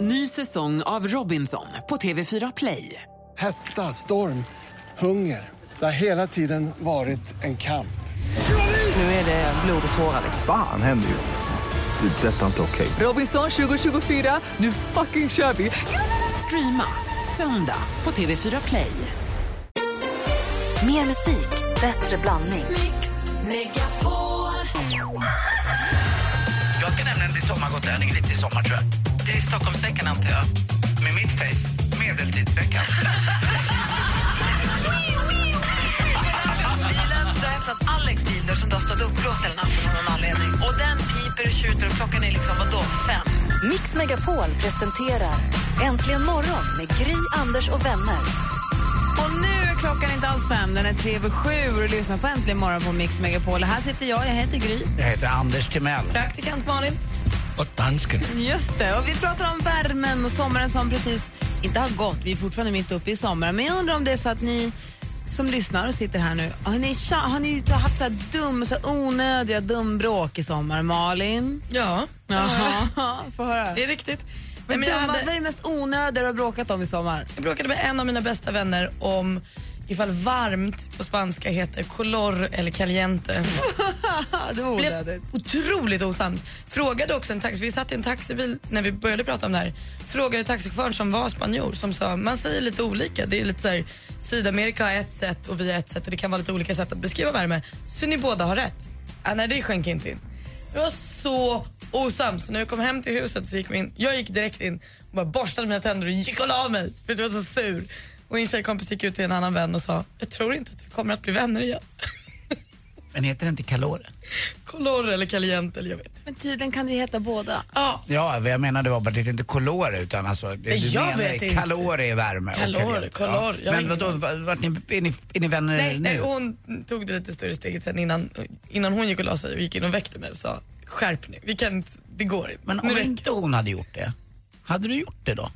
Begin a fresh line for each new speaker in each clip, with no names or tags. Ny säsong av Robinson på TV4 Play.
Hetta, storm, hunger. Det har hela tiden varit en kamp.
Nu är det blod och tårar.
Fan händer just nu. Det. är Detta är inte okej.
Robinson 2024, nu fucking kör vi! Streama söndag på TV4 Play.
Mer musik, bättre blandning.
Jag ska nämligen bli sommargotlänning lite i sommar, tror jag. Det är Stockholmsveckan, antar jag. Med mitt face, medeltidsveckan. Bilen, du har hämtat Alex bil där som du har stått uppblåst hela natten av någon anledning. Och den piper och tjuter och klockan är liksom, vadå, fem?
Mix Megapol presenterar Äntligen morgon med Gry, Anders och vänner.
Och nu är klockan inte alls fem, den är tre över sju och du lyssnar på Äntligen morgon på Mix Megapol. Här sitter jag, jag heter Gry.
Jag heter Anders Timell.
Praktikant Malin.
Och dansken.
Just det, och vi pratar om värmen och sommaren som precis inte har gått. Vi är fortfarande mitt uppe i sommaren. Men jag undrar om det är så att ni som lyssnar och sitter här nu, har ni, tja- har ni så haft så här dum, så här onödiga dumbråk i sommar? Malin?
Ja,
Jaha, får höra.
det är riktigt. Nej,
Men
men jag,
dumma,
hade,
Vad är det mest onödiga du har bråkat om i sommar?
jag bråkade med en av mina bästa vänner om ifall varmt på spanska heter color eller caliente.
Ja, det var
Blev
onödigt.
otroligt osams. Frågade också en taxi, vi satt i en taxibil när vi började prata om det här. Frågade taxichauffören som var spanjor som sa man säger lite olika. Det är lite så här, Sydamerika har ett sätt och vi har ett sätt och det kan vara lite olika sätt att beskriva värme. Så ni båda har rätt. Ah, nej, det sjönk inte in. Det var så osams. När jag kom hem till huset så gick vi in. Jag gick direkt in och bara borstade mina tänder och gick och la mig. För att jag var så sur. Och en tjejkompis gick ut till en annan vän och sa jag tror inte att vi kommer att bli vänner igen.
Men heter det inte kalore?
Color eller caliente eller jag vet inte.
Men tydligen kan det heta båda.
Ja,
Ja, jag menade var bara att det inte kolor utan alltså... Det, du
jag
menar
vet inte.
Kalor är värme. och
Kalor,
kalorier.
kolor, jag
Ja.
har
Men
ingen
vadå,
aning.
vart vart ni, är, ni, är ni vänner
Nej,
nu?
nej, hon tog det lite större steget sen innan, innan hon gick och la sig och gick in och väckte mig och sa skärp nu, vi kan inte, det går inte.
Men
Nu
om
räcker
inte hon hade gjort det, hade du gjort det då?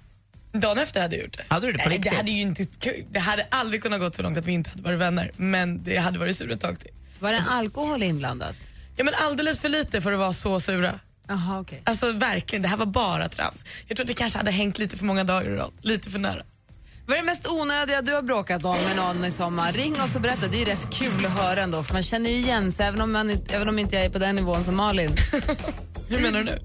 det. Dagen efter hade jag gjort det.
Hade du det på
nej, det
riktigt?
hade ju inte, det hade aldrig kunnat gå så långt att vi inte hade varit vänner, men det hade varit sur ett tag till.
Var det alkohol inblandat?
Ja men alldeles för lite för att vara så sura.
Jaha, okej.
Alltså verkligen, det här var bara trams. Jag tror att det kanske hade hängt lite för många dagar i rad, lite för nära.
Vad är det mest onödiga du har bråkat om med någon i sommar? Ring oss och berätta. Det är ju rätt kul att höra ändå, för man känner ju igen sig även om, man, inte- även om inte jag är på den nivån som Malin.
Hur menar du nu?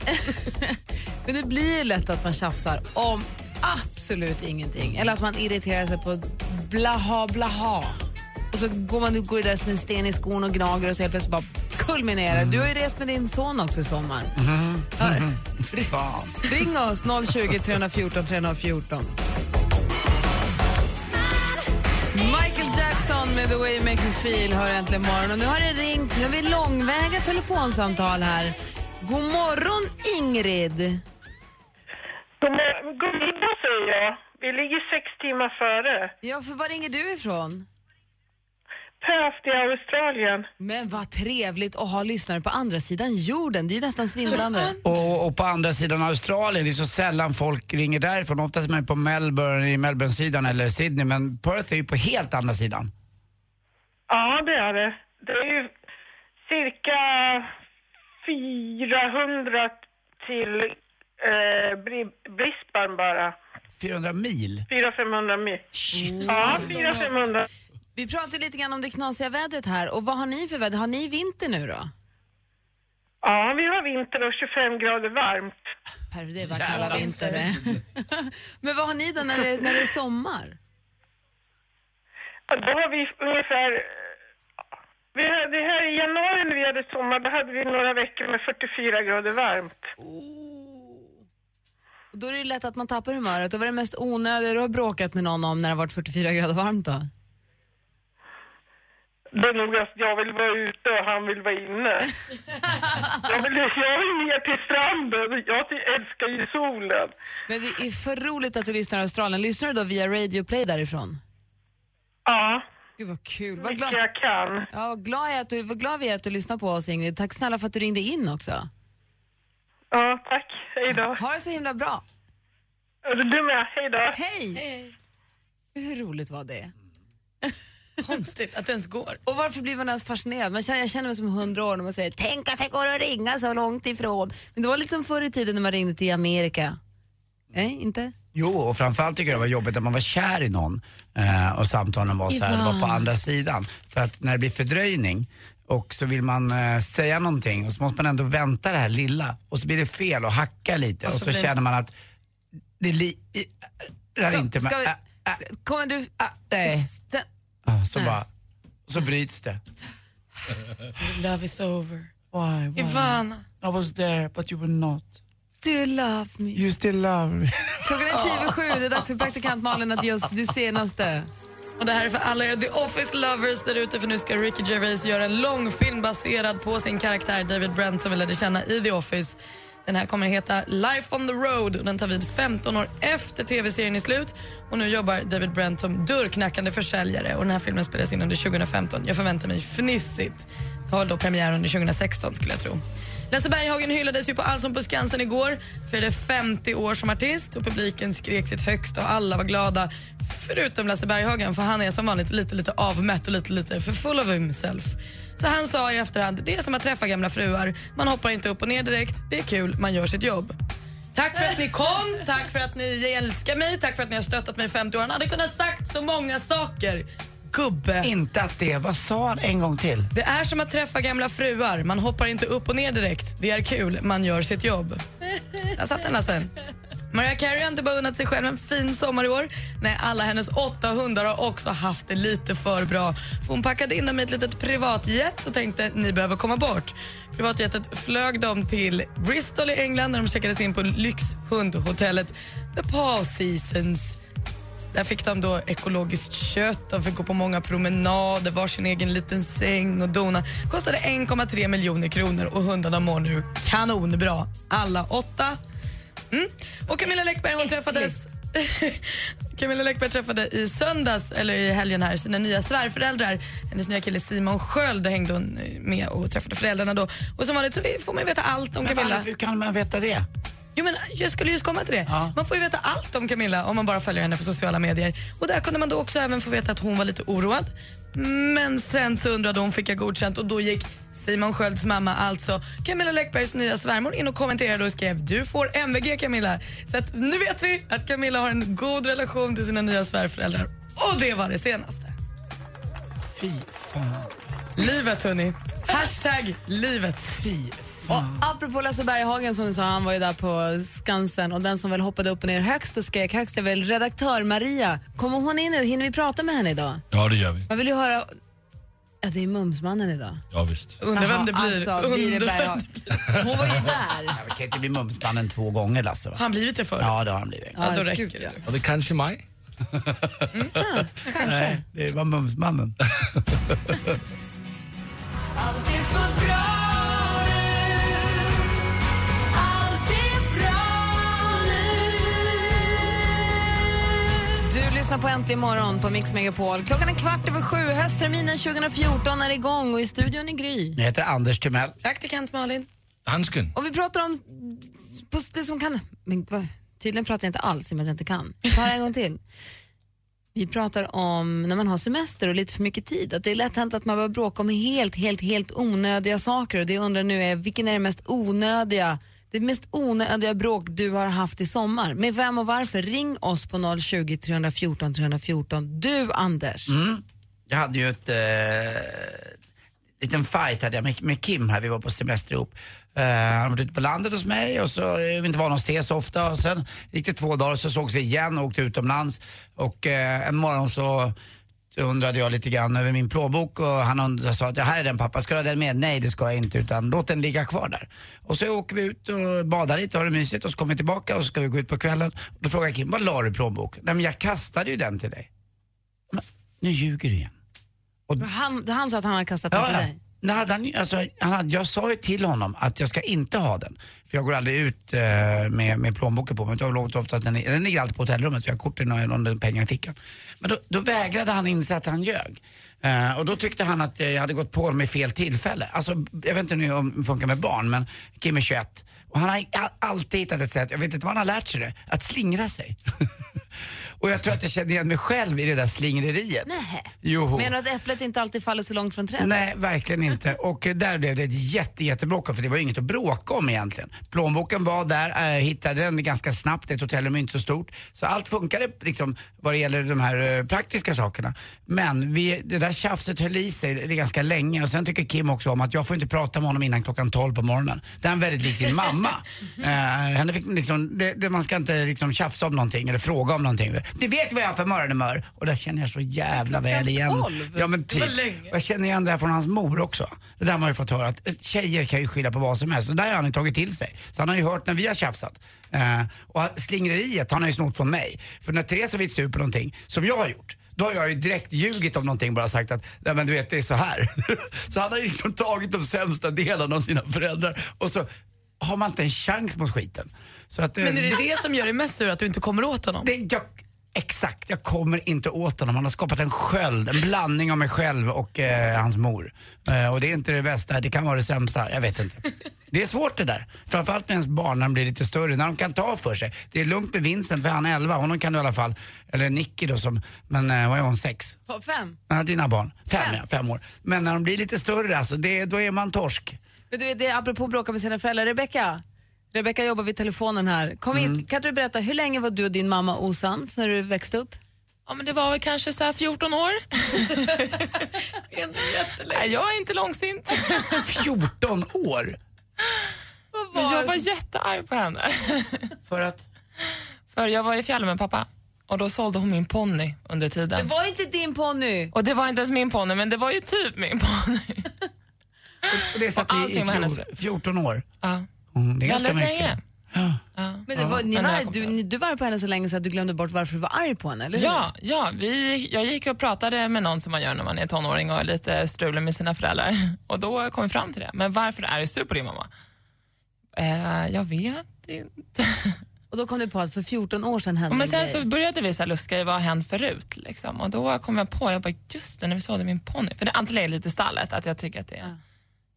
Men det blir ju lätt att man tjafsar om absolut ingenting. Eller att man irriterar sig på blaha blaha. Och så går man går det där som en sten i skon och gnager och så helt plötsligt bara kulminerar.
Mm.
Du har ju rest med din son också i sommar. Ja,
Mm-hmm. Fy fan.
Ring oss 020 314 314. Michael Jackson med The Way You Make Me Feel hör äntligen morgon. Och nu har det ringt. Nu har vi långväga telefonsamtal här. God morgon, Ingrid.
God mor- god middag säger jag. Vi ligger sex timmar före.
Ja, för var ringer du ifrån?
Perth i Australien.
Men vad trevligt att ha lyssnare på andra sidan jorden. Det är ju nästan svindlande.
Och, och på andra sidan Australien, det är så sällan folk ringer därifrån. Oftast är man på Melbourne, i Melbourne-sidan eller Sydney, men Perth är ju på helt andra sidan.
Ja, det är det. Det är ju cirka 400 till eh, Bri- Brisbane bara.
400 mil.
400-500 mil. Ja, 400-500.
Vi pratade lite grann om det knasiga vädret här. Och vad har ni för väder? Har ni vinter nu då?
Ja, vi har vinter och 25 grader varmt.
Per, det var kalla vinter det. Men vad har ni då när det, när det är sommar?
Ja, Då har vi ungefär... Vi hade, här I januari när vi hade sommar, då hade vi några veckor med 44 grader varmt.
Oh. Då är det ju lätt att man tappar humöret. Och vad är det mest onödiga du har bråkat med någon om när det har varit 44 grader varmt då?
Det är nog att jag vill vara ute och han vill vara inne. Jag vill, jag vill ner till stranden. Jag ty- älskar ju solen.
Men det är för roligt att du lyssnar i Australien. Lyssnar du då via Radio Play därifrån?
Ja,
Gud vad kul. Vad glad,
mycket jag kan.
ja, vad glad, jag är att du, vad glad vi är att du lyssnar på oss Ingrid. Tack snälla för att du ringde in också.
Ja, tack. Hej då.
Ha det så himla bra.
Du med. Hej då.
Hej! Hur roligt var det?
Konstigt att det ens går.
Och varför blir man ens fascinerad? Man känner, jag känner mig som hundra år när man säger tänk att det går att ringa så långt ifrån. Men det var liksom förr i tiden när man ringde till Amerika. Nej, inte?
Jo, och framförallt tycker jag det var jobbigt när man var kär i någon eh, och samtalen var så här, det var på andra sidan. För att när det blir fördröjning och så vill man eh, säga någonting och så måste man ändå vänta det här lilla och så blir det fel och hackar lite och,
Och så
så,
blir-
känner man att det li- i- är inte med.
Alltså, ska vi,
Äh, äh,
ska, kommer du...
nej.
Stä-
ah, så bara, så bryts det.
Love is over.
Why,
Ivana.
I was there but you were not.
Do you love me?
You still love me.
Klockan är tio över sju. Det är dags för praktikant Malin att ge oss det senaste.
Och det här är för alla er The Office lovers där ute för nu ska Ricky Gervais göra en långfilm baserad på sin karaktär David Brent som vi lärde känna i The Office. Den här kommer att heta Life on the Road och den tar vid 15 år efter tv-serien är slut. Och nu jobbar David Brent som dörrknackande försäljare och den här filmen spelas in under 2015. Jag förväntar mig fnissigt. Har då premiär under 2016 skulle jag tro. Lasse Berghagen hyllades ju på Allsång på Skansen igår. Firade 50 år som artist och publiken skrek sitt högsta och alla var glada. Förutom Lasse Berghagen för han är som vanligt lite lite avmätt och lite lite för full of himself. Så han sa i efterhand, det är som att träffa gamla fruar. Man hoppar inte upp och ner direkt, det är kul, man gör sitt jobb. Tack för att ni kom, tack för att ni älskar mig, tack för att ni har stöttat mig i 50 år. Han hade kunnat sagt så många saker. Gubbe.
Inte att det, vad sa han en gång till?
Det är som att träffa gamla fruar. Man hoppar inte upp och ner direkt. Det är kul. Man gör sitt jobb. Där satt den Lasse. Mariah Carey har inte bara unnat sig själv en fin sommar i år. Nej, alla hennes åtta hundar har också haft det lite för bra. För hon packade in dem i ett litet privatjet och tänkte ni behöver komma bort. Privatjetet flög dem till Bristol i England där de checkades in på lyxhundhotellet The Paw Seasons. Där fick de då ekologiskt kött, de fick gå på många promenader, var sin egen liten säng och dona. Kostade 1,3 miljoner kronor och hundarna mår nu kanonbra, alla åtta. Mm. Och Camilla Läckberg hon träffades... Camilla Läckberg träffade i söndags, eller i helgen här, sina nya svärföräldrar. Hennes nya kille Simon Sköld hängde hon eh, med och träffade föräldrarna då. Och som vanligt så vi- får man ju veta allt om Camilla.
Hur kan man veta det?
Jo, men jag skulle just komma till det.
Ja.
Man får ju veta allt om Camilla om man bara följer henne på sociala medier. Och där kunde man då också även få veta att hon var lite oroad. Men sen så undrade hon, fick jag godkänt? Och då gick Simon Skölds mamma, alltså Camilla Läckbergs nya svärmor, in och kommenterade och skrev du får MVG Camilla. Så att nu vet vi att Camilla har en god relation till sina nya svärföräldrar. Och det var det senaste.
Fy fan,
Livet hörni. Hashtag livet.
fy
Och
fan.
apropå Lasse Berghagen som du sa, han var ju där på Skansen och den som väl hoppade upp och ner högst och skrek högst är väl redaktör Maria. Kommer hon in? Hinner vi prata med henne idag?
Ja, det gör vi.
Man vill ju höra... Ja, det är Mumsmannen idag.
Ja, visst.
Undrar vem det
Jaha,
blir.
Alltså, blir det
Undrar-
Berghagen? Hon var ju där.
Ja, vi kan inte bli Mumsmannen två gånger Lasse va?
Han blivit det förr.
Ja det har han blivit.
Ja, då
Ah,
räcker
gud, Mm,
det.
Och det kanske är mig.
Nej, det var Mumsmannen.
Du lyssnar på Äntligen morgon på Mix Megapol. Klockan är kvart över sju. Höstterminen 2014 är igång och i studion är Gry.
Jag heter Anders Timell.
Praktikant Malin.
Dansken.
Och vi pratar om på det som kan... Men, vad- tydligen pratar jag inte alls i och med att jag inte kan. Ta det en gång till. Vi pratar om när man har semester och lite för mycket tid. Att det är lätt hänt att man börjar bråka om helt, helt, helt onödiga saker. Och det jag undrar nu är, vilken är det mest onödiga det mest onödiga bråk du har haft i sommar? Med vem och varför? Ring oss på 020 314 314. Du, Anders.
Jag hade ju ett eh, liten fight hade jag med, med Kim här, vi var på semester ihop. Eh, han har varit ute på landet hos mig och så eh, vi inte var någon ses så ofta. Och sen gick det två dagar och så sågs vi igen och åkte utomlands. Och eh, en morgon så så undrade jag lite grann över min plånbok och han undrade, sa att "Ja, här är den pappa, ska du ha den med? Nej det ska jag inte utan låt den ligga kvar där. Och så åker vi ut och badar lite och har det mysigt och så kommer vi tillbaka och så ska vi gå ut på kvällen. Och då frågar Kim, vad la du i plånboken? Nej men jag kastade ju den till dig. Men, nu ljuger du igen.
Han, han sa att han hade kastat den
Ja,
till
ja.
dig.
Nej, hade han, alltså, han hade, jag sa ju till honom att jag ska inte ha den. För jag går aldrig ut eh, med, med plånboken på mig. Jag låter oftast den, i- den ligger alltid på hotellrummet för jag har kort i någon någon pengar i fickan. Men då, då vägrade han inse att han ljög. Eh, och då tyckte han att eh, jag hade gått på honom i fel tillfälle. Alltså, jag vet inte nu om det funkar med barn, men Kim är 21. Och han har a- alltid hittat ett sätt, jag vet inte vad han har lärt sig det, att slingra sig. Och jag tror att jag kände igen mig själv i det där slingreriet.
Nähä.
Joho.
Menar du att äpplet inte alltid faller så långt från trädet?
Nej, verkligen inte. Och eh, där blev det ett jätte, jättebråk för det var ju inget att bråka om egentligen. Plånboken var där, eh, hittade den ganska snabbt, ett hotellrum är inte så stort. Så allt funkade liksom vad det gäller de här eh, praktiska sakerna. Men vi, det där tjafset höll i sig det är ganska länge och sen tycker Kim också om att jag får inte prata med honom innan klockan 12 på morgonen. Det är han väldigt lik sin mamma. eh, henne fick liksom, det, det, man ska inte liksom tjafsa om någonting eller fråga om någonting. Du vet vad jag har för morgonhumör och där känner jag så jävla väl igen.
12?
Ja, men typ. Och Jag känner igen det här från hans mor också. Det där har man ju fått höra att eh, tjejer kan ju skylla på vad som helst. Och det där har han ju tagit till sig. Så han har ju hört när vi har tjafsat. Eh, och slingreriet han har ju snott från mig. För när Therese har blivit sur på någonting, som jag har gjort, då har jag ju direkt ljugit om någonting bara sagt att nej men du vet det är så här. så han har ju liksom tagit de sämsta delarna av sina föräldrar och så har man inte en chans mot skiten. Så att, eh,
Men är det det som gör dig mest sur, att du inte kommer åt honom?
det, jag, exakt, jag kommer inte åt honom. Han har skapat en sköld, en blandning av mig själv och eh, hans mor. Eh, och det är inte det bästa, det kan vara det sämsta, jag vet inte. Det är svårt det där. Framförallt med ens barn när de blir lite större, när de kan ta för sig. Det är lugnt med Vincent, för han är 11, honom kan du i alla fall, eller Nicky då som, men eh, vad är hon, sex?
På fem?
Nej, dina barn. Fem, Ja, fem år. Men när de blir lite större alltså, det, då är man torsk.
Men du, vet, det är apropå att bråka med sina föräldrar. Rebecka, Rebecka jobbar vid telefonen här. Kom
Mm.
in, kan du berätta, hur länge var du och din mamma osams när du växte upp?
Ja, men det var väl kanske så här 14 år. Nej, jag är inte långsint.
14 år!
Men jag var jättearg på henne.
För att?
För jag var i fjällen med pappa och då sålde hon min ponny under
Det
tiden.
var inte din ponny!
Och det var inte ens min ponny, men det var ju typ min ponny.
Och det satt
Och
i,
allting
i
var hennes
fjol, 14 år.
Ja.
Mm, det är ganska
Väldigt
mycket.
länge.
Ja.
Men det var, ni
men
var,
när jag kom
du,
till
ni, du var på henne så länge så att du glömde bort varför du var arg på henne, eller hur?
Ja, ja vi, jag gick och pratade med någon som man gör när man är tonåring och är lite strulig med sina föräldrar. Och då kom vi fram till det. Men varför är du sur på din mamma? Eh, jag vet inte.
Och då kom du på att för 14 år sedan hände
Men
en
sen
grej.
så började vi så här luska i vad har hänt förut? Liksom. Och då kom jag på, jag bara, just det, när vi sålde min ponny. För det antagligen är lite i stallet, att jag tycker att det är...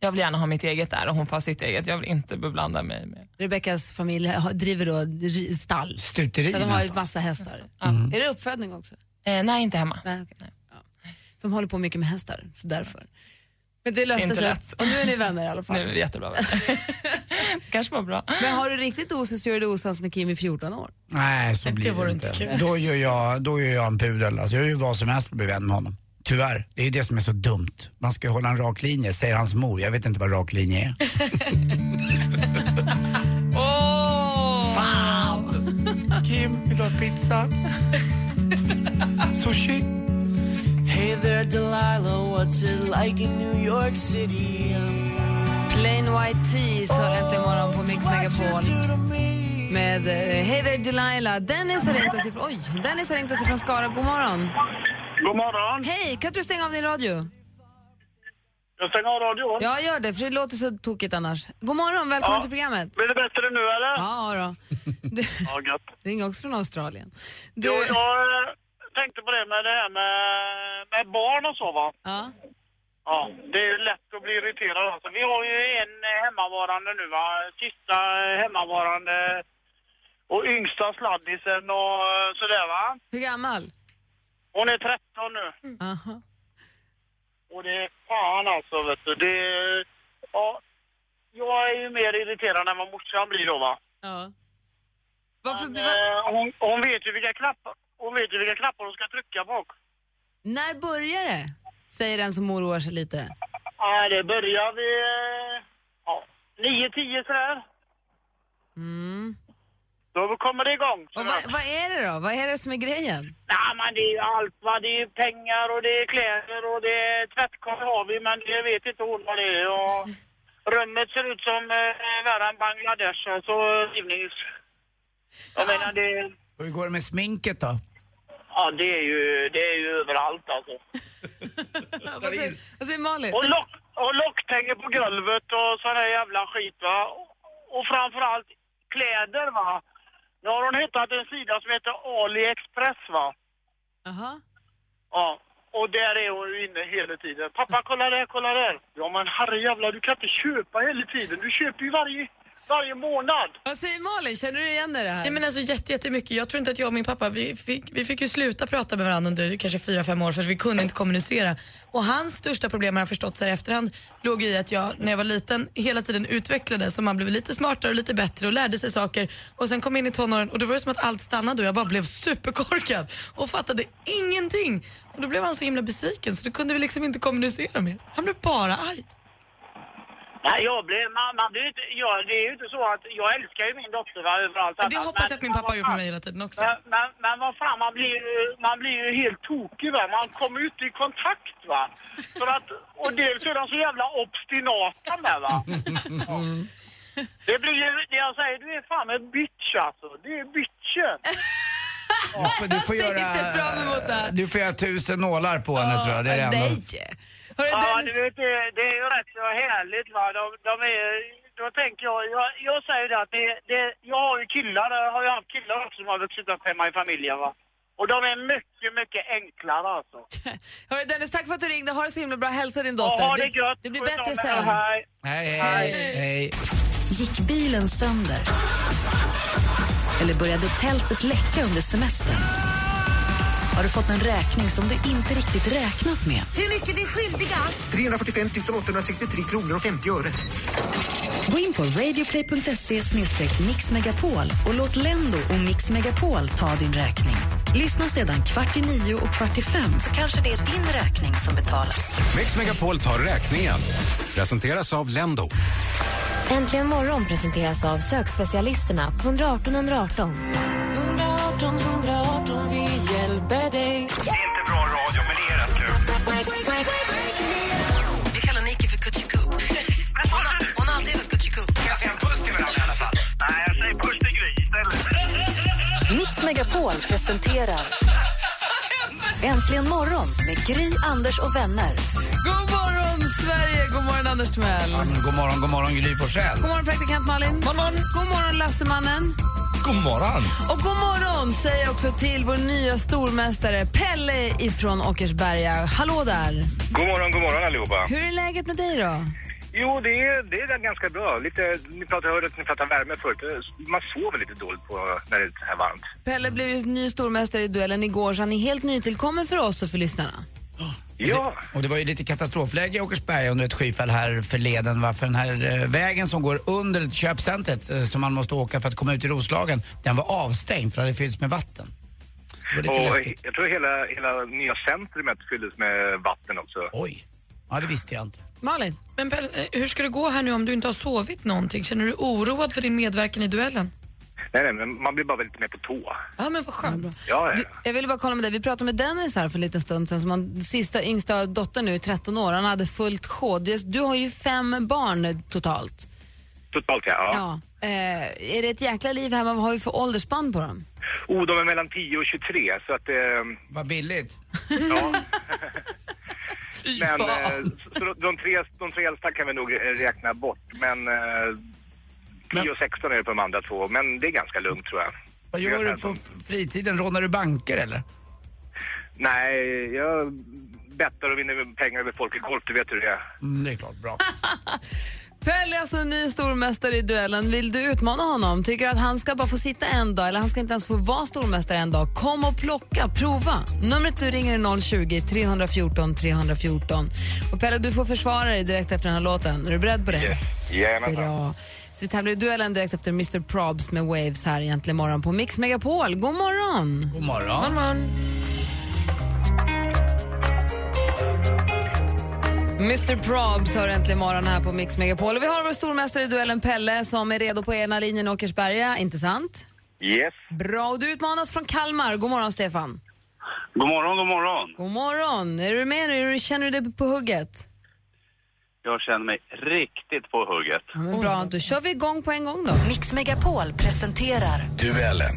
Jag vill gärna ha mitt eget där och hon får ha sitt eget. Jag vill inte beblanda mig med...
Rebeckas familj har- driver då ri- stall.
Stuteri
Så de har ju
nästan.
massa hästar. Är det uppfödning också?
Eh, nej, inte hemma.
Nej, okej. Ja. Som håller på mycket med hästar, så därför. Men det
Det är
löste
inte
sig.
lätt.
Och nu är ni vänner i alla fall.
Nu är vi jättebra vänner. kanske var bra.
Men har du riktigt osis så är du osams med Kim i 14 år.
Nej, så blir det,
vore
inte.
inte kul.
Då, gör jag, då gör jag en pudel. Alltså, jag gör ju vad som helst för att bli vän med honom. Tyvärr, det är ju det som är så dumt. Man ska ju hålla en rak linje, säger hans mor. Jag vet inte vad rak linje är.
Åh!
Kim, vill du ha pizza? Sushi?
Plain White Tees har äntligen morgon på Mix Megapol. Med eh, Hey there Delilah. Dennis har ringt oss ifrån, oj, Dennis har ringt oss ifrån Skara. God morgon.
God morgon.
Hej, kan inte du stänga av din radio?
Jag stänger av radion.
Ja, gör det, för det låter så tokigt annars. God morgon, välkommen
Ja.
till programmet.
Blir det bättre nu eller?
Ja, då. Du,
Ja, gött.
ring också från Australien. Du,
Jo, jag eh, tänkte på det med det här med, med barn och så va.
ja.
Ja, det är ju lätt att bli irriterad alltså. Vi har ju en eh, hemmavarande nu va. Sista eh, hemmavarande och yngsta sladdisen och eh, sådär va.
Hur gammal?
Hon är 13 nu.
Aha.
Och det är fan alltså vet du. Det är, ja, jag är ju mer irriterad än vad morsan blir då va.
Ja. Varför,
Men,
va,
eh, hon, hon vet ju vilka knappar hon vet ju vilka knappar hon ska trycka på.
när börjar det? Säger den som oroar sig lite.
Nej, det börjar vid eh, ja, 9-10 sådär.
Mm.
Då kommer det igång.
Och vad, vad är det då? Vad är det som är grejen?
Nej, men det är ju allt va. Det är ju pengar och det är kläder och det är tvättkorg har vi, men det vet inte hon vad det är. Och rummet ser ut som eh, värre än Bangladesh. Alltså rivnings... Jag menar det...
Och hur går det med sminket då?
Ja, det är ju, det är ju överallt alltså.
Vad säger, vad säger Malin?
Och, lock, och locktänger på golvet och sån här jävla skit va. Och framförallt kläder va. Nu har hon hittat en sida som heter AliExpress va.
Jaha.
Ja. Och där är hon ju inne hela tiden. Pappa kolla där, kolla där. Ja men herrejävlar du kan inte köpa hela tiden. Du köper ju varje, varje månad.
Vad säger Malin, känner du igen dig i det här?
Nej, men alltså, jätte, jättemycket. Jag tror inte att jag och min pappa, vi fick, vi fick ju sluta prata med varandra under kanske fyra fem år för att vi kunde inte kommunicera. Och hans största problem har jag förstått så här i efterhand låg i att jag när jag var liten hela tiden utvecklades och man blev lite smartare och lite bättre och lärde sig saker. Och sen kom jag in i tonåren och då var det som att allt stannade och jag bara blev superkorkad och fattade ingenting. Och då blev han så himla besviken så då kunde vi liksom inte kommunicera mer. Han blev bara arg.
Nej, jag blir, man, man blir inte, jag, det är ju inte så att, jag älskar ju min dotter va, överallt.
Det
annat,
hoppas jag
men-
att min pappa har gjort med mig hela tiden också.
Men, men, men vad fan, man blir, ju- man blir ju helt tokig va. Man kommer ju inte i kontakt va. För att, och dels är de så jävla obstinata med va. Det blir ju, det jag säger, du är fan en bitch alltså. Du är bitchen.
Du får, du får
Jag ser inte fram emot det
göra,
här. Ah,
du får göra tusen nålar på henne tror jag. Det är det enda.
Nej. Hörru,
Ja,
Dennis,
du vet, det, det är ju rätt så härligt va. De, de är, då tänker jag, jag, jag säger det att det, det, jag har ju killar, jag har ju haft killar också som har vuxit upp hemma i familjen va. Och de är mycket, mycket enklare alltså.
hörru, Dennis, tack för att du ringde. Ha det så himla bra. Hälsa din
Ja,
dotter.
ha det
Du-
gött.
det blir
Sköt om
bättre
er.
sen.
Hej.
Hej, hej, hej.
Gick bilen sönder? Eller började tältet läcka under semestern? Har du fått en räkning som du inte riktigt räknat med?
Hur mycket vi är skyldiga?
345 863 kronor och 50 öre.
Gå in på radioplay.se mixmegapol och låt Lendo och Mix Megapol ta din räkning. Lyssna sedan kvart i nio och kvart i fem så kanske det är din räkning som betalas.
Mix Megapol tar räkningen. Presenteras av Lendo.
Äntligen morgon presenteras av sökspecialisterna på 118 118.
118 118, vi hjälper dig.
Inte bra radio, men det är rätt kul.
Vi kallar Nike för Kutjiku. Hon, har- hon har alltid hetat Kutjiku. Kan jag säga en puss till varandra i alla fall? Nej, jag säger puss till Gry istället.
Mix Megapol presenterar Äntligen morgon med Gry, Anders och vänner.
God morgon, Sverige! God morgon, Anders Timell.
Mm, God morgon, god morgon Gry Forssell.
God morgon, praktikant Malin. God morgon, god morgon Lassemannen.
God morgon.
Och god morgon säger jag också till vår nya stormästare Pelle ifrån Åkersberga. Hallå där!
God morgon, god morgon allihopa.
Hur är läget med dig då?
Jo, det är, det är ganska bra. Lite, ni pratade, hörde att ni pratade värme förut. Man sover lite dåligt på när det är så här varmt.
Pelle blev ju ny stormästare i duellen igår så han är helt nytillkommen för oss och för lyssnarna.
Ja. Och det, och det var ju lite katastrofläge i Åkersberga under ett skyfall här förleden. Va? För den här eh, vägen som går under köpcentret eh, som man måste åka för att komma ut i Roslagen, den var avstängd för det hade fyllts med vatten. Det var lite
Och
läskigt.
jag tror hela, hela nya centrumet fylldes med vatten också.
Oj. Ja, det visste jag inte.
Malin?
Men Pelle, eh, hur ska det gå här nu om du inte har sovit någonting? Känner du oroad för din medverkan i duellen?
Nej, nej, men man blir bara lite mer på tå.
Ja, men vad skönt.
Ja, ja.
Du, jag ville bara kolla med dig. Vi pratade med Dennis här för en liten stund sedan. Som han, sista yngsta dottern nu, 13 år. Han hade fullt sjå. Du, du har ju fem barn totalt.
Totalt ja. ja.
Ja. Eh, är det ett jäkla liv hemma? Vad har vi för åldersspann på dem?
Oh, de är mellan 10 och 23 så att... Eh,
Vad billigt.
Ja. Men
fan.
eh, så- så de, tre, de tre äldsta kan vi nog eh, räkna bort, men... Eh, 10 och 16 är det på de andra två, men det är ganska lugnt tror jag.
Vad gör du på fritiden? Rånar du banker eller?
Nej, jag bettar och vinner pengar över folk i golf, du vet hur det är.
Mm, det är klart. Bra.
Pelle är alltså en ny stormästare i duellen. Vill du utmana honom? Tycker du att han ska bara få sitta en dag eller han ska inte ens få vara stormästare en dag? Kom och plocka, prova. Numret du ringer är 020-314 314. Och Pelle, du får försvara dig direkt efter den här låten. Är du beredd på det?
Jajamensan.
Bra. Så vi tävlar i duellen direkt efter Mr Probs med Waves här egentligen imorgon på Mix Megapol. God morgon!
God morgon.
God morgon.
Mr Probs hör äntligen morgon här på Mix Megapol. Och vi har vår stormästare i duellen Pelle som är redo på ena linjen i Åkersberga, inte sant?
Yes.
Bra, och du utmanas från Kalmar. God morgon Stefan.
God morgon, god morgon.
God morgon. Är du med nu? Känner du dig på hugget?
Jag känner mig riktigt på hugget.
Ja, men bra, då kör vi igång på en gång då.
Mix Megapol presenterar
Duellen.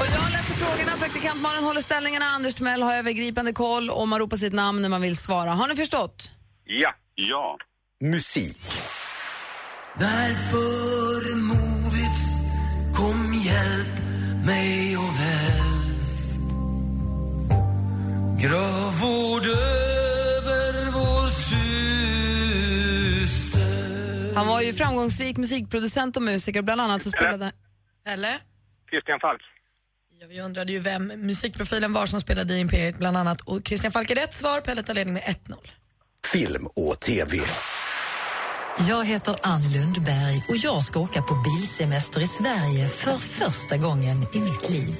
Och jag läser frågorna, praktikant Malin håller ställningarna, Anders Timell har övergripande koll och man ropar sitt namn när man vill svara. Har ni förstått?
Ja. Ja.
Musik.
Därför en movits, kom hjälp mig och välv. Gravvård över vår synd.
ju framgångsrik musikproducent och musiker. Bland annat så spelade...
Eller?
Christian Falk.
Jag undrade ju vem musikprofilen var som spelade i Imperiet bland annat. Och Christian Falk är rätt svar. Pelle tar ledning med 1-0.
Film och TV.
Jag heter Ann Lundberg och jag ska åka på bilsemester i Sverige för första gången i mitt liv.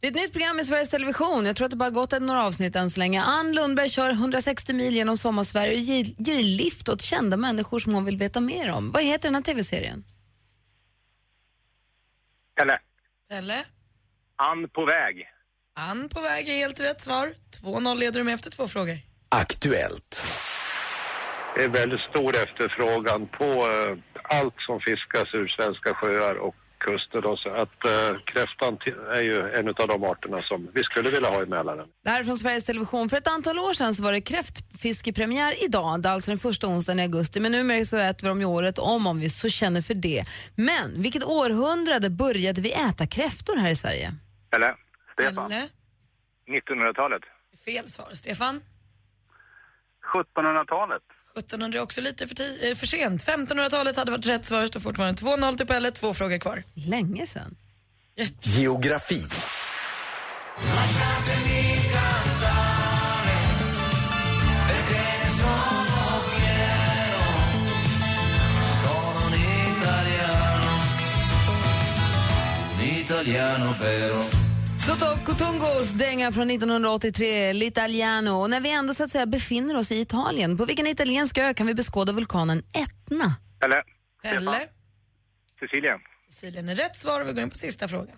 Det är ett nytt program i Sveriges Television. Jag tror att det bara gått ett- några avsnitt än så länge. Ann Lundberg kör 160 mil genom sommarsverige och ger, ger lift åt kända människor som hon vill veta mer om. Vad heter den här tv-serien?
Pelle.
Pelle?
Ann på väg.
Ann på väg är helt rätt svar. 2-0 leder du med efter två frågor.
Aktuellt.
Det är väldigt stor efterfrågan på eh, allt som fiskas ur svenska sjöar och kuster. Då, så att eh, kräftan ti- är ju en av de arterna som vi skulle vilja ha i Mälaren.
Det här är från Sveriges Television. För ett antal år sedan så var det kräftfiskepremiär idag, det är alltså den första onsdagen i augusti. Men numera så äter vi dem ju året om, om vi så känner för det. Men vilket århundrade började vi äta kräftor här i Sverige?
Pelle. Stefan.
Pelle?
1900-talet.
Fel svar. Stefan?
1700-talet.
1700 är också lite för, ti- eh, för sent. 1500-talet hade varit rätt svar. Står fortfarande 2-0 till Pelle. Två frågor kvar.
Länge sedan.
Geografi.
Italiano vero.
Toto Cotungos dänga från 1983, L'Italiano. Och när vi ändå så att säga befinner oss i Italien, på vilken italiensk ö kan vi beskåda vulkanen Etna?
Pelle.
Pelle?
Sicilien.
Mm.
Sicilien är rätt svar och vi går in på sista frågan.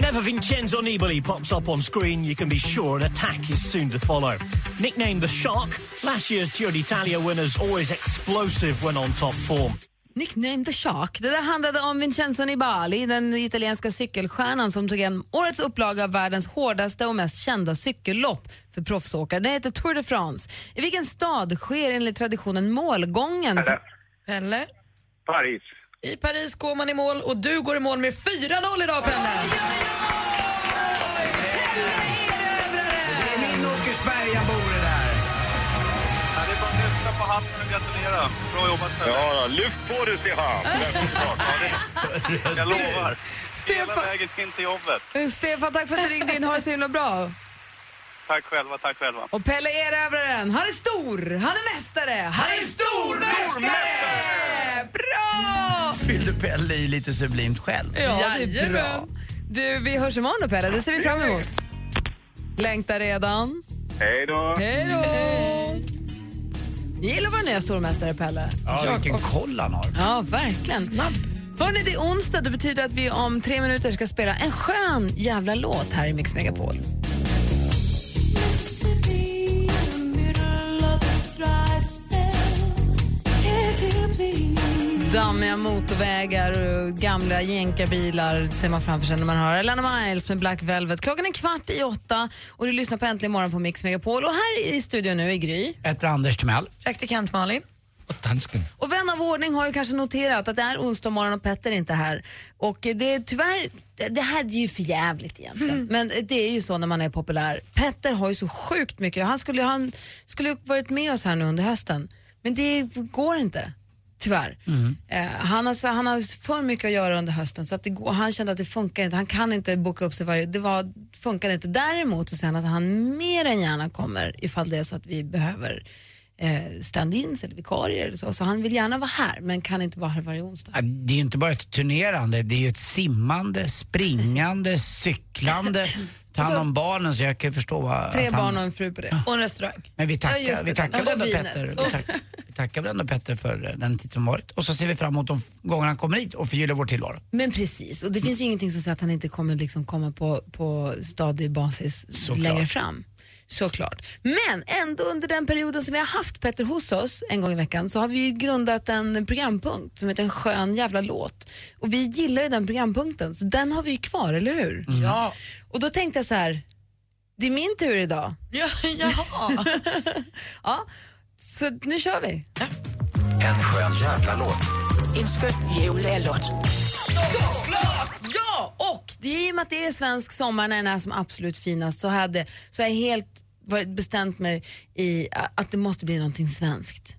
Whenever Vincenzo Nibali pops up on screen, you can be sure an attack is soon to follow. Nicknamed the Shark, last year's Giro d'Italia winner's always explosive when on top form.
Nickname the Shark. Det där handlade om Vincenzo Nibali, den italienska cykelstjärnan som tog hem årets upplaga av världens hårdaste och mest kända cykellopp för proffsåkare. Det heter Tour de France. I vilken stad sker enligt traditionen målgången?
Pelle?
Paris.
I Paris går man i mål och du går i mål med 4-0 idag Pelle!
Det är min Åkersbergabore där.
Ja, det är bara att lyfta på hatten och gratulera. Bra jobbat, Pelle. Ja, lyft på du, Stefan. Jag lovar. Hela vägen in till jobbet.
Stefan, tack för att du ringde in. Ha det så himla bra.
Tack själva, tack själva.
Och Pelle är erövraren. Han är stor, han är mästare, han är stormästare! Bra!
Fyllde Pelle i lite sublimt själv.
Ja, det är bra. Du, vi hörs imorgon då Pelle. Det ser vi fram emot. Längtar redan.
Hej då.
Hej då! Gillar att vara nya stormästare, Pelle.
Ja, vilken koll han har.
Ja, verkligen. Snabb. Hörrni, det är onsdag. Det betyder att vi om tre minuter ska spela en skön jävla låt här i Mix Megapol. Dammiga motorvägar och gamla jänkarbilar ser man framför sig när man hör Alana Miles med Black Velvet. Klockan är kvart i åtta och du lyssnar på Äntligen morgon på Mix Megapol. Och här i studion nu är Gry.
Ett Anders Timell.
Praktikant Malin.
Och dansken.
Och vän av ordning har ju kanske noterat att det är onsdag morgon och Petter är inte här. Och eh, det är tyvärr, det- det här är ju för jävligt egentligen. Men eh, det är ju så när man är populär. Petter har ju så sjukt mycket. Han skulle ju han skulle ju varit med oss här nu under hösten. Men det går inte. Tyvärr.
Mm.
Eh, han, har, så- han har för mycket att göra under hösten så att det går, han kände att det funkar inte. Han kan inte boka upp sig varje Det var, funkar inte. Däremot så säger han att han mer än gärna kommer ifall det är så att vi behöver eh, stand-ins eller vikarier eller så. Så han vill gärna vara här men kan inte vara här varje onsdag.
Ja, Det är ju inte bara ett turnerande, det är ju ett simmande, springande, cyklande, ta hand om barnen så jag kan ju förstå vad...
Alltså- Tre
att han-
barn och en fru på det.
Och en restaurang.
Men vi
Ja, just
tackar,
det,
vi tackar
den.
väl ändå Petter.
Och vinet.
Vi, tack, vi tackar väl ändå Petter för eh, den tid som varit. Och så ser vi fram emot de f- gånger han kommer hit och förgyller vår tillvaro.
Men precis, och det finns ju ingenting som säger att han inte kommer liksom komma på, på stadig basis
Såklart.
längre fram. Såklart. Men ändå under den perioden som vi har haft Petter hos oss en gång i veckan så har vi ju grundat en programpunkt som heter En skön jävla låt. Och vi gillar ju den programpunkten så den har vi ju kvar, eller hur?
Mm.
Ja. Och då tänkte jag så här, det är min tur idag.
Ja, jaha.
ja, så nu kör vi.
En skön jävla låt.
En skön jullåt. Såklart! Ja! Och det är i och med att det är svensk sommar när den är som absolut finast så, hade, så har jag helt varit bestämt mig i a- att det måste bli någonting svenskt.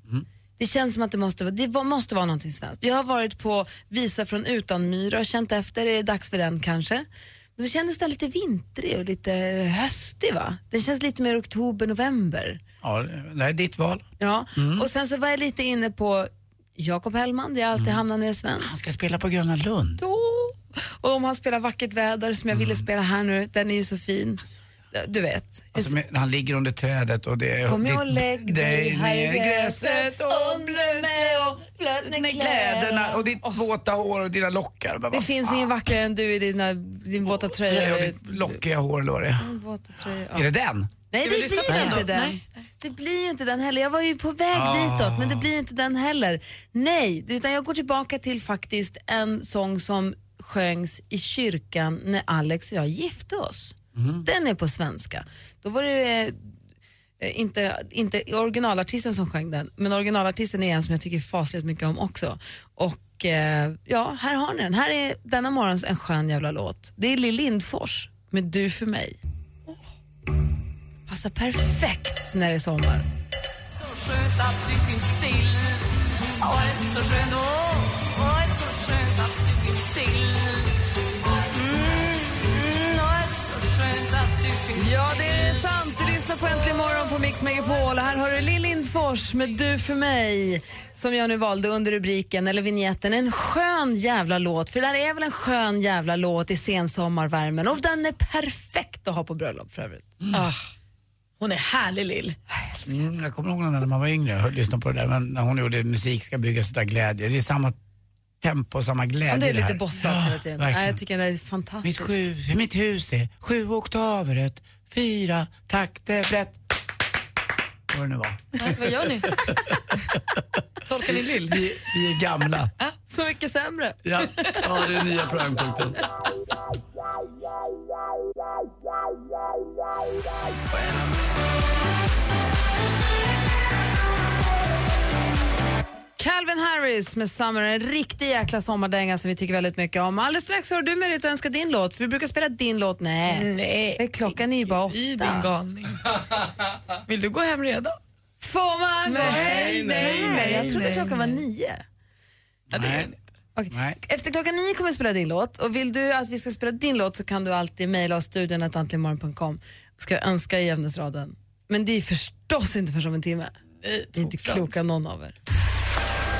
Det känns som att det måste, vara- det var- måste vara någonting svenskt. Jag har varit på Visa från Utanmyra och känt efter, är det dags för den kanske? Men det kändes den lite vintrig och lite höstig va? Den känns lite mer oktober, november.
Ja, det här är ditt val.
Ja,
Mm.
och sen så var jag lite inne på Jakob Hellman, det jag
Mm.
alltid hamnar när det är svenskt. Han
ska spela på Gröna Lund.
Och om han spelar Vackert väder som jag ville
Mm.
spela här nu, den är ju så fin. Du vet.
Alltså, men han ligger under trädet och det är...
Kom
det-
och lägg dig
dig
här i
ner i
gräset
gräset
och blöt mig och blöt
Med
med
kläderna
kläderna.
och ditt våta hår och dina lockar. Bara,
Det
vad
finns
fan,
ingen vackrare än du i dina, din våta tröja.
tröja och
eller-
ditt lockiga hår eller vad det är.
Din våta tröja. Ja.
Är det den?
Nej, det
Ska vi
blir
lyssna
inte
på den då?
den.
Nej.
Det blir ju inte den heller. Jag var ju på väg
Ah.
ditåt, men det blir inte den heller. Nej, utan jag går tillbaka till faktiskt en sång som sjöngs i kyrkan när Alex och jag gifte oss.
Mhm.
Den är på svenska. Då var det eh, Eh, inte, inte originalartisten som sjöng den, men originalartisten är en som jag tycker fasligt mycket om också. Och eh, ja, här har ni den. Här är denna morgons en skön jävla låt. Det är Lill Lindfors med Du för mig. Passar perfekt när det är sommar.
skönt att du finns till. Åh, det är så skönt. Åh, åh, det är så skönt att du finns till. Mm, mm, åh, det är så skönt att du finns till.
Ja, det är sant. Du lyssnar på Äntligen morgon på Mix Megapol. Här har du Lill Lindfors med Du för mig som jag nu valde under rubriken, eller vignetten, en skön jävla låt. För det där är väl en skön jävla låt i sensommarvärmen och den är perfekt att ha på bröllop för övrigt.
Ah, hon är härlig Lill.
Mm, jag kommer ihåg när man var yngre och lyssnade på det där. Men när hon gjorde Musik ska byggas utav glädje. Det är samma tempo och samma glädje
Men det är
i här.
lite bossat hela tiden.
Ja, verkligen.
Nej, jag tycker den är
Mitt,
fantastisk.
sju, mitt hus är sju oktaver ett, fyra takter brett. Vad det nu var.
vad gör ni?
Tolkar ni lill? Vi, vi är gamla.
Så mycket sämre.
Ja, ja det är nya programpunkten.
Calvin Harris med Summer, en riktig jäkla sommardänga som vi tycker väldigt mycket om. Alldeles strax har du möjlighet att önska din låt, för vi brukar spela din låt. Nej,
Nej.
För klockan är ju bara åtta. I
din galning. Vill du gå hem redan?
Får man gå
Nej,
hem?
nej, nej,
Jag trodde
nej,
klockan var nio.
Nej. Nej.
Efter klockan nio kommer vi spela din låt och vill du att vi ska spela din låt så kan du alltid mejla oss studion att antligenmorgon.com. Ska jag önska i ämnesraden. Men det är förstås inte för som en timme.
Eh,
Det är inte kloka någon av er.